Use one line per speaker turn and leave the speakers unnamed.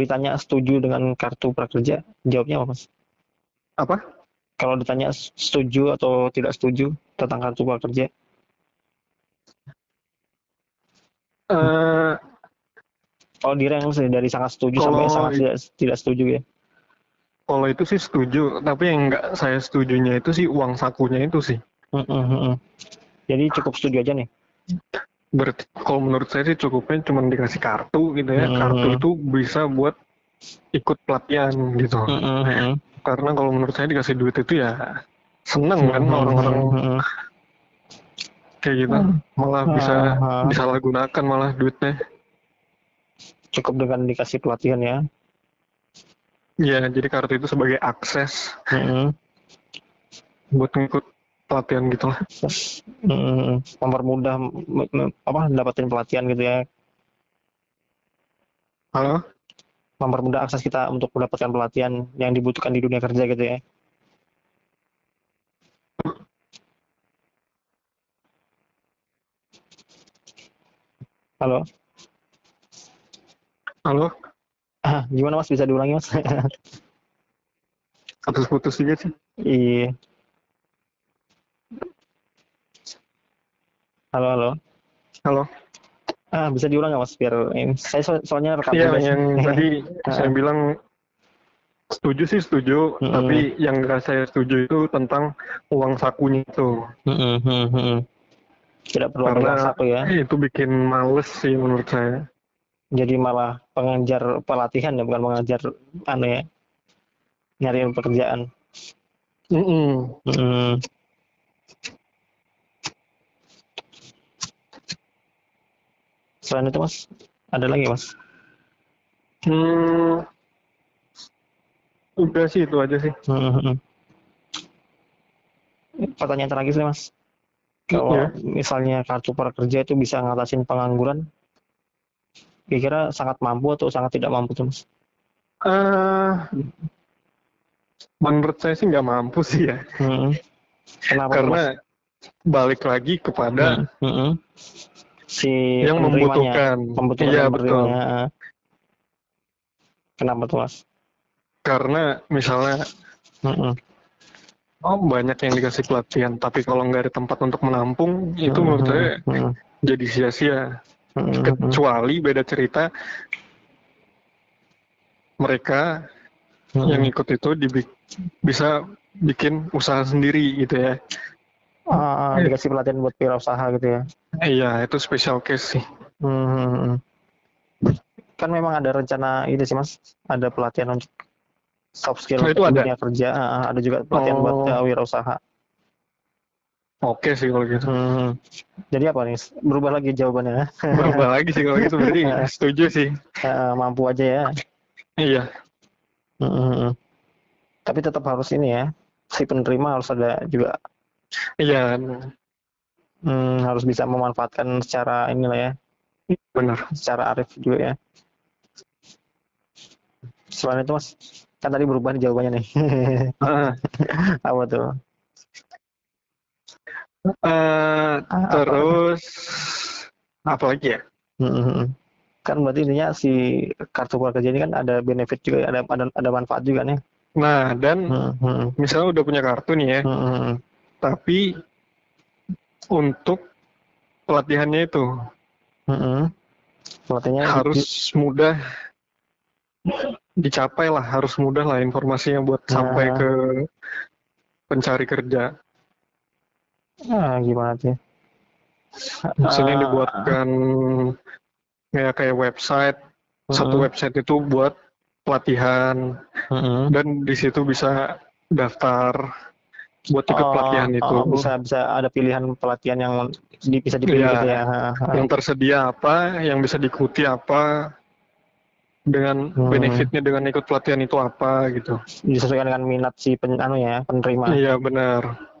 ditanya setuju dengan kartu prakerja, jawabnya apa, Mas?
Apa?
Kalau ditanya setuju atau tidak setuju tentang kartu prakerja,
Eh,
kalau di rank Oh, sih dari sangat setuju sampai
Kalau-
sangat tidak, tidak setuju ya.
kalau itu sih setuju, tapi yang nggak saya setujunya itu sih uang sakunya itu sih.
Mm-mm, mm-mm. hmm, Jadi cukup setuju aja nih.
Berarti kalau menurut saya sih cukupnya cuma dikasih kartu gitu ya.
Hmm.
Kartu itu bisa buat ikut pelatihan gitu.
Mm-mm, mm-mm.
Karena kalau menurut saya dikasih duit itu ya seneng kan
Mm-mm,
orang-orang
mm-mm.
kayak gitu. Malah bisa
Ah.
disalahgunakan malah duitnya.
Cukup dengan dikasih pelatihan ya.
Iya, jadi kartu itu sebagai akses
Mm-mm.
buat ngikut pelatihan gitu lah.
Mm-mm. hmm, Mempermudah me- me- apa dapatin pelatihan gitu ya.
Halo?
Mempermudah akses kita untuk mendapatkan pelatihan yang dibutuhkan di dunia kerja gitu ya. Halo.
Halo?
Ah, gimana Mas bisa diulangi Mas?
Habis putus juga sih.
Iya. Halo, halo.
Halo?
Ah, bisa diulang nggak Mas biar ini. Saya so- soalnya rekam
Iya,
juga sih.
yang tadi
Ah.
saya bilang setuju sih setuju,
Mm-mm.
tapi yang nggak saya setuju itu tentang uang sakunya itu.
Mm-mm, mm-mm, mm-mm. Tidak perlu ada
Karena-
yang saku ya.
Itu bikin males sih menurut saya.
Jadi malah pengajar pelatihan ya, bukan mengajar anu ya. Nyariin pekerjaan. Hmm.
Mm-mm.
Mm-mm. Selain itu Mas, ada lagi Mas?
Hmm. Udah sih itu aja sih.
Mm, mm, mm. Pertanyaan terakhir sih Mas. Kalau
Iya.
misalnya kartu prakerja itu bisa ngatasin pengangguran, kira-kira sangat mampu atau sangat tidak mampu tuh Mas?
Eh, menurut saya sih nggak mampu sih ya,
Mm-mm. Hmm. Kenapa tuh,
karena
Mas?
balik lagi kepada
Mm-mm. Nah. si
yang
penerimanya,
membutuhkan.
Hmm, membutuhkan
Iya
yang
betul.
penerimanya. Kenapa tuh Mas?
Karena misalnya
Mm-mm.
oh banyak yang dikasih pelatihan, tapi kalau nggak ada tempat untuk menampung, itu
Mm-mm.
menurut saya
Mm-mm.
jadi sia-sia.
Mm-mm.
Kecuali beda cerita mereka
Mm-mm.
yang ikut itu dibi- bisa bikin usaha sendiri gitu ya.
Ah, ah, dikasih pelatihan buat wirausaha gitu ya.
Iya, itu special case sih.
Hmm. Kan memang ada rencana itu sih Mas, ada pelatihan untuk soft skill
Oh, itu
untuk
ada?
dunia kerja, Ah, ah, ada juga pelatihan buat
Oh.
eh, wirausaha.
Oke sih kalau gitu.
Hmm. Jadi apa nih? Berubah lagi jawabannya.
Berubah lagi sih kalau gitu berarti setuju sih.
Eh, eh, mampu aja ya.
Iya,
Hmm. Tapi tetap harus ini ya. Si penerima harus ada juga
iya
hmm, harus bisa memanfaatkan secara inilah ya,
benar.
secara arif juga ya. Selain itu Mas, kan tadi berubah nih jawabannya nih.
Ah,
Apa tuh?
eh,
Ah, apa?
terus apa lagi ya?
Mm-mm. Kan berarti intinya si kartu prakerja ini kan ada benefit juga, ada ada, ada manfaat juga nih.
Nah, dan
Hmm. Mm-mm.
misalnya udah punya kartu nih ya,
Mm-mm.
tapi untuk pelatihannya itu
Mm-mm. Berartinya di-
harus mudah dicapai lah, harus mudah lah informasinya buat sampai
Nah.
ke pencari kerja.
ah, gimana sih?
Maksudnya
Ah,
dibuatkan kayak kayak website, satu
mm-mm.
website itu buat pelatihan
Mm-mm.
dan di situ bisa daftar buat ikut
Oh,
pelatihan
oh,
itu.
bisa bisa ada pilihan pelatihan yang di- bisa dipilih
Iya.
gitu ya. Ha, ha.
Yang tersedia apa, yang bisa diikuti apa, dengan
Hmm.
benefitnya dengan ikut pelatihan itu apa gitu.
Disesuaikan dengan minat si pen, anu ya, penerima.
Iya benar.